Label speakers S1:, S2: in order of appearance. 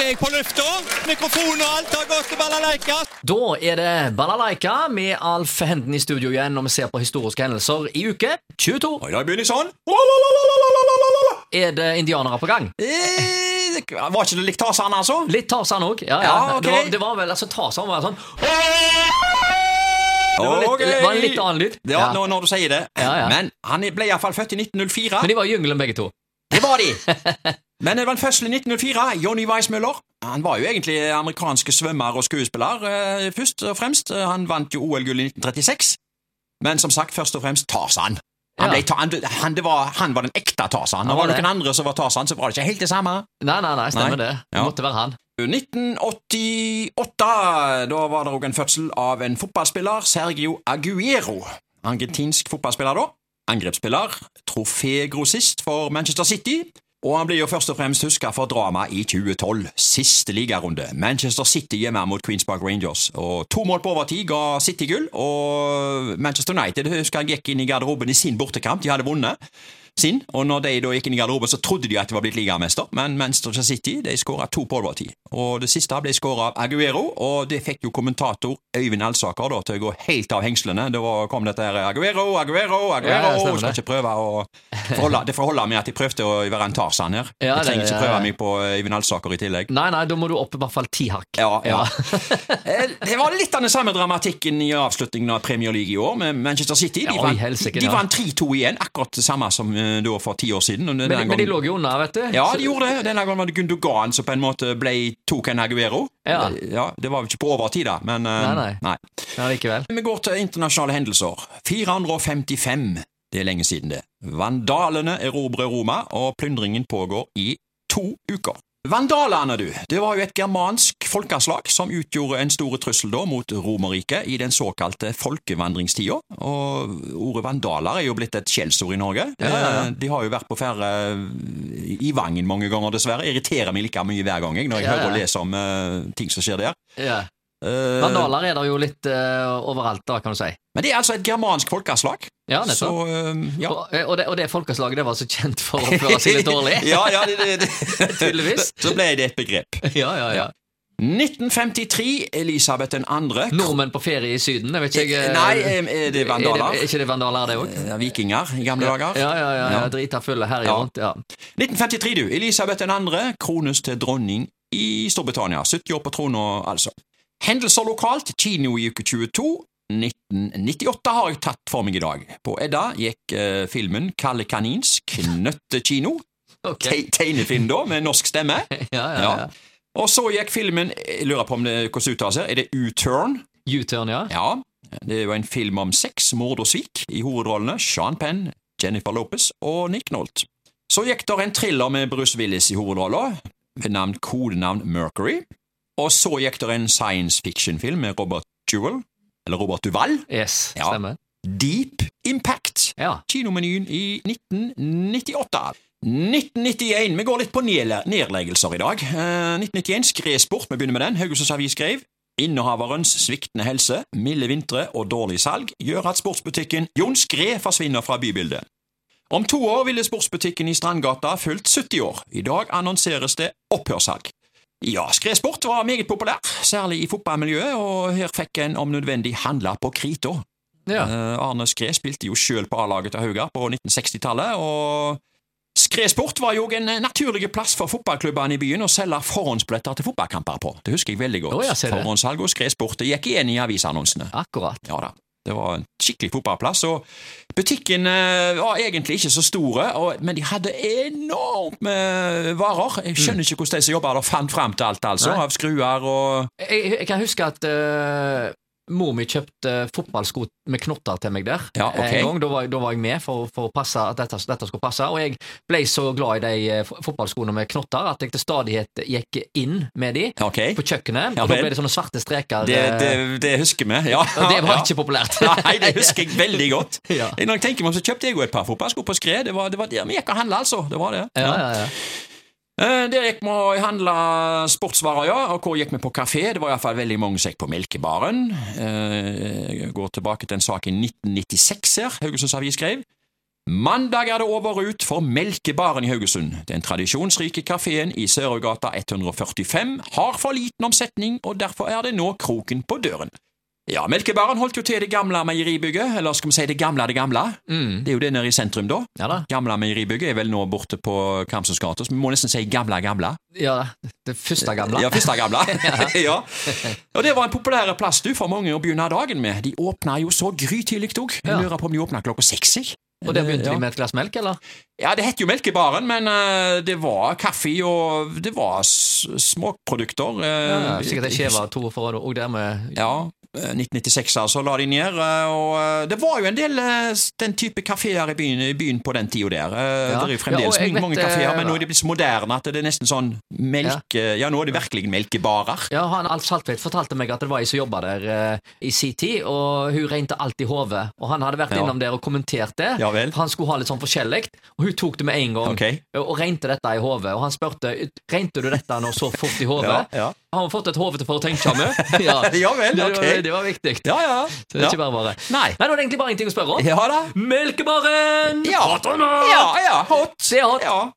S1: er jeg på lufta. Mikrofon og alt har gått til balalaika.
S2: Da er det Balalaika med Alf Henden i studio igjen når vi ser på historiske hendelser i uke 22.
S1: Og da begynner jeg sånn.
S2: Er det indianere på gang?
S1: Eh, det Var ikke det likt Tarzan, altså?
S2: Litt Tarzan òg. Ja, ja.
S1: Ja, ok.
S2: det, var- det var vel altså Tarzan var sånn Det var, litt,
S1: Ok.
S2: det var en litt annen lyd.
S1: Ja, nå når du sier det.
S2: Ja, ja.
S1: Men han ble iallfall født i 1904.
S2: Men de var i jungelen begge to.
S1: Det var de! Men det var den første i 1904. Johnny Weissmuller. Han var jo egentlig amerikanske svømmer og skuespiller, eh, først og fremst. Han vant jo OL-gull i 1936. Men som sagt, først og fremst Tarzan. Han,
S2: Ja.
S1: ble ta han, han, det var, han var den ekte Tarzan. Når det
S2: var
S1: var
S2: det.
S1: noen andre som var Tarzan, så var det ikke helt det samme.
S2: Nei, nei, nei, stemmer
S1: Nei.
S2: det. Det
S1: Ja.
S2: måtte være han.
S1: 1988, da var det òg en fødsel av en fotballspiller, Sergio Aguero. Argentinsk fotballspiller, da. Angrepsspiller. Trofégrossist for Manchester City. Og han blir jo først og fremst huska for dramaet i 2012, siste ligarunde. Manchester City hjemme mot Queens Park Rangers. Og To mål på overtid ga City gull, og Manchester United husker jeg gikk inn i garderoben i sin bortekamp, de hadde vunnet sin, og når de da gikk inn i garderoben, så trodde de at de var blitt ligamester, men Manchester City de skåra to på overtid. Og det siste ble skåra av Aguero, og det fikk jo kommentator Øyvind Alsaker da, til å gå helt av hengslene. Da var- kom dette her Aguero, Aguero,
S2: Ja,
S1: Aguero
S2: stemmer
S1: Skal
S2: det.
S1: ikke prøve å forholde, Det får holde med at de prøvde å være en Tarzan her.
S2: Ja,
S1: Jeg trenger
S2: det-
S1: ikke prøve meg på Øyvind Alsaker i tillegg.
S2: Nei, nei, da må du opp i hvert fall ti hakk.
S1: Ja, ja. Eh, det var litt av den samme dramatikken i avslutningen av Premier League i år med Manchester City. De
S2: Ja, i
S1: vant,
S2: helsike,
S1: de
S2: ja.
S1: vant 3-2 igjen, akkurat det samme som eh, da for ti år siden. og denne
S2: Men, men de
S1: gangen-
S2: lå jo unna, vet du.
S1: ja,
S2: Så-
S1: de gjorde det. Denne gangen var det Gundogan som på en måte ble, tok en Aguero.
S2: Ja.
S1: det var jo ikke på overtid, da, men eh,
S2: Nei, Ja, likevel.
S1: Vi går til internasjonale hendelser. 455, det er lenge siden det. Vandalene erobrer Roma, og plyndringen pågår i to uker. Vandalene, du, det var jo et germansk folkeslag som utgjorde en stor trussel da mot Romerriket i den såkalte folkevandringstida. Og ordet vandaler er jo blitt et skjellsord i Norge.
S2: ja, ja.
S1: Eh, De har jo vært på ferde eh, i Vangen mange ganger, dessverre. Irriterer meg like mye hver gang jeg, når jeg
S2: Ja, ja.
S1: hører og leser om eh, ting som skjer der.
S2: Ja.
S1: Eh,
S2: Vandaler er det jo litt eh, overalt, da, kan du si.
S1: Men det er altså et germansk folkeslag.
S2: Ja,
S1: Så,
S2: nettopp.
S1: øhm, ja.
S2: Og, eh, og, det, og det folkeslaget det var så kjent for å oppføre seg litt dårlig.
S1: ja, ja, det, det, det.
S2: Tydeligvis.
S1: Så ble det et begrep.
S2: Ja, ja, ja.
S1: 1953, Elisabeth 2.
S2: Nordmenn på ferie i Syden, jeg vet ikke jeg eh,
S1: Nei, øhm, er det
S2: Er
S1: vandaler?
S2: det, er ikke det vandaler, det òg?
S1: Eh, Vikinger i gamle
S2: Ja,
S1: dager.
S2: ja, ja, ja.
S1: Ja.
S2: Drita fulle her
S1: Ja.
S2: rundt. Ja.
S1: 1953, du. Elisabeth 2. krones til dronning i Storbritannia. 70 år på trona, altså. Hendelser lokalt. Kino i uke 22. 1998 har jeg tatt for meg i dag. På Edda gikk eh, filmen Kalle Kanins knøttekino.
S2: Ok.
S1: Te tegnefilm, da, med norsk stemme.
S2: Ja, ja,
S1: Ja.
S2: ja.
S1: Og så gikk filmen Jeg lurer på om det hvordan det uttales her. Er det U-turn?
S2: U-turn, ja.
S1: Ja. Det var en film om sex, mord og svik. I hovedrollene Sean Penn, Jennifer Lopez og Nick Nolt. Så gikk der en thriller med Bruce Willis i hovedrollen, ved navn kodenavn Mercury. Og så gikk der en science fiction-film med Robert Jewel, eller Robert Duval,
S2: Yes,
S1: Ja.
S2: stemmer.
S1: Deep Impact.
S2: Ja.
S1: Kinomenyen i 1998. 1991. Vi går litt på nedle- nedleggelser i dag. Eh, 1991 Skresport, vi begynner med den. Haugesunds Avis skrev Innehaverens sviktende helse, milde vintre og dårlig salg gjør at sportsbutikken Jon Skre forsvinner fra bybildet. Om to år ville sportsbutikken i Strandgata fylt 70 år. I dag annonseres det opphørssalg. Ja, skresport var meget populær, særlig i fotballmiljøet, og her fikk en om nødvendig handle på krita.
S2: ja.
S1: Eh, Arne Skræ spilte jo sjøl på A-laget til Haugar på 1960-tallet, og Skræsport var jo en naturlig plass for fotballklubbene i byen å selge forhåndsbilletter til fotballkamper på. Det husker jeg veldig godt.
S2: Å, ja, ser du.
S1: Forhåndssalg og Skræsport det gikk igjen i avisannonsene.
S2: Akkurat.
S1: Ja da. Det var en skikkelig fotballplass, og butikken eh, var egentlig ikke så store, og, men de hadde enormt med varer. Jeg skjønner ikke hvordan de som jobba der fant fram til alt, altså,
S2: Mm. Nei.
S1: av skruer og
S2: Jeg, jeg kan huske at eh, mor mi kjøpte fotballsko med knotter til meg der eh,
S1: Ja, ok.
S2: en gang. Da var, jeg- da var jeg med for, for å passe at dette, dette skulle passe, og jeg ble så glad i de eh, fo- fotballskoene med knotter at jeg til stadighet gikk inn med de
S1: Ok,
S2: på kjøkkenet,
S1: Ja
S2: og da
S1: vel.
S2: ble det sånne svarte streker.
S1: det,
S2: eh,
S1: det, det husker vi. Ja.
S2: og det var
S1: Ja.
S2: ikke populært.
S1: Nei, det husker jeg veldig godt.
S2: Ja.
S1: Når jeg tenker meg om, så kjøpte jeg jo et par fotballsko på Skred. Det var, det var der vi gikk og handla, altså. Det var det.
S2: Ja, ja, ja.
S1: Eh, Der gikk vi og handla sportsvarer, ja. Og hvor gikk vi på kafé? Det var iallfall veldig mange som gikk på Melkebaren. Eh, Jeg går tilbake til en sak i 1996 her, Haugesunds Avis skrev. Mandag er det over og ut for Melkebaren i Haugesund. Den tradisjonsrike kafeen i Sørøygata 145 har for liten omsetning, og derfor er det nå kroken på døren. Ja, Melkebaren holdt jo til det gamle meieribygget, eller skal vi si det gamle det gamle?
S2: Mm.
S1: Det er jo det nede i sentrum, da.
S2: Ja da.
S1: Gamle meieribygget er vel nå borte på Kamsens gate, så vi må nesten si gamle gamle.
S2: Ja, det første gamle.
S1: Ja, første gamle. ja. Og det var en populær plass du for mange å begynne dagen med. De åpna jo så grytidlig òg. Jeg
S2: Ja.
S1: lurer på om de åpna klokka seks, jeg.
S2: Og der begynte
S1: Ja.
S2: de med et glass melk, eller?
S1: Ja, det het jo Melkebaren, men eh, det var kaffe og det var s- småprodukter.
S2: Ja,
S1: eh,
S2: sikkert ei skjeve og to for og der med
S1: Ja, eh, 1996 altså, la de ned. eh, Og eh, det var jo en del eh, s- den type kafeer i byen, i byen på den tida der. Eh,
S2: Ja.
S1: Det er jo fremdeles
S2: Ja, og jeg
S1: mange, mange
S2: vet, eh,
S1: kafeer, men nå er de blitt så moderne at det er nesten sånn melk... Ja, nå er det virkelig melkebarer.
S2: Ja, han Alf Saltveit fortalte meg at det var ei som jobba der eh, i sin tid, og hun rente alt i hodet. Og han hadde vært
S1: Ja.
S2: innom der og kommentert det.
S1: Ja vel.
S2: For han skulle ha litt sånn forskjellig, og hun tok det med en gang. eh,
S1: Ok.
S2: Og rente dette i hodet. Og han spurte rente du dette nå så fort i hodet.
S1: Ja, ja.
S2: Har hun fått et hode til for å tenke med? ja.
S1: Ja vel,
S2: det,
S1: ok.
S2: var, det var viktig.
S1: Ja, ja.
S2: Så det er
S1: ja.
S2: ikke bare bare.
S1: Nei.
S2: Nei, nå er det egentlig bare en ting å spørre om.
S1: Ja da.
S2: Melkebaren!
S1: Ja.
S2: Hot or not?
S1: Ja, ja. Hot.
S2: Det er hot.
S1: Ja.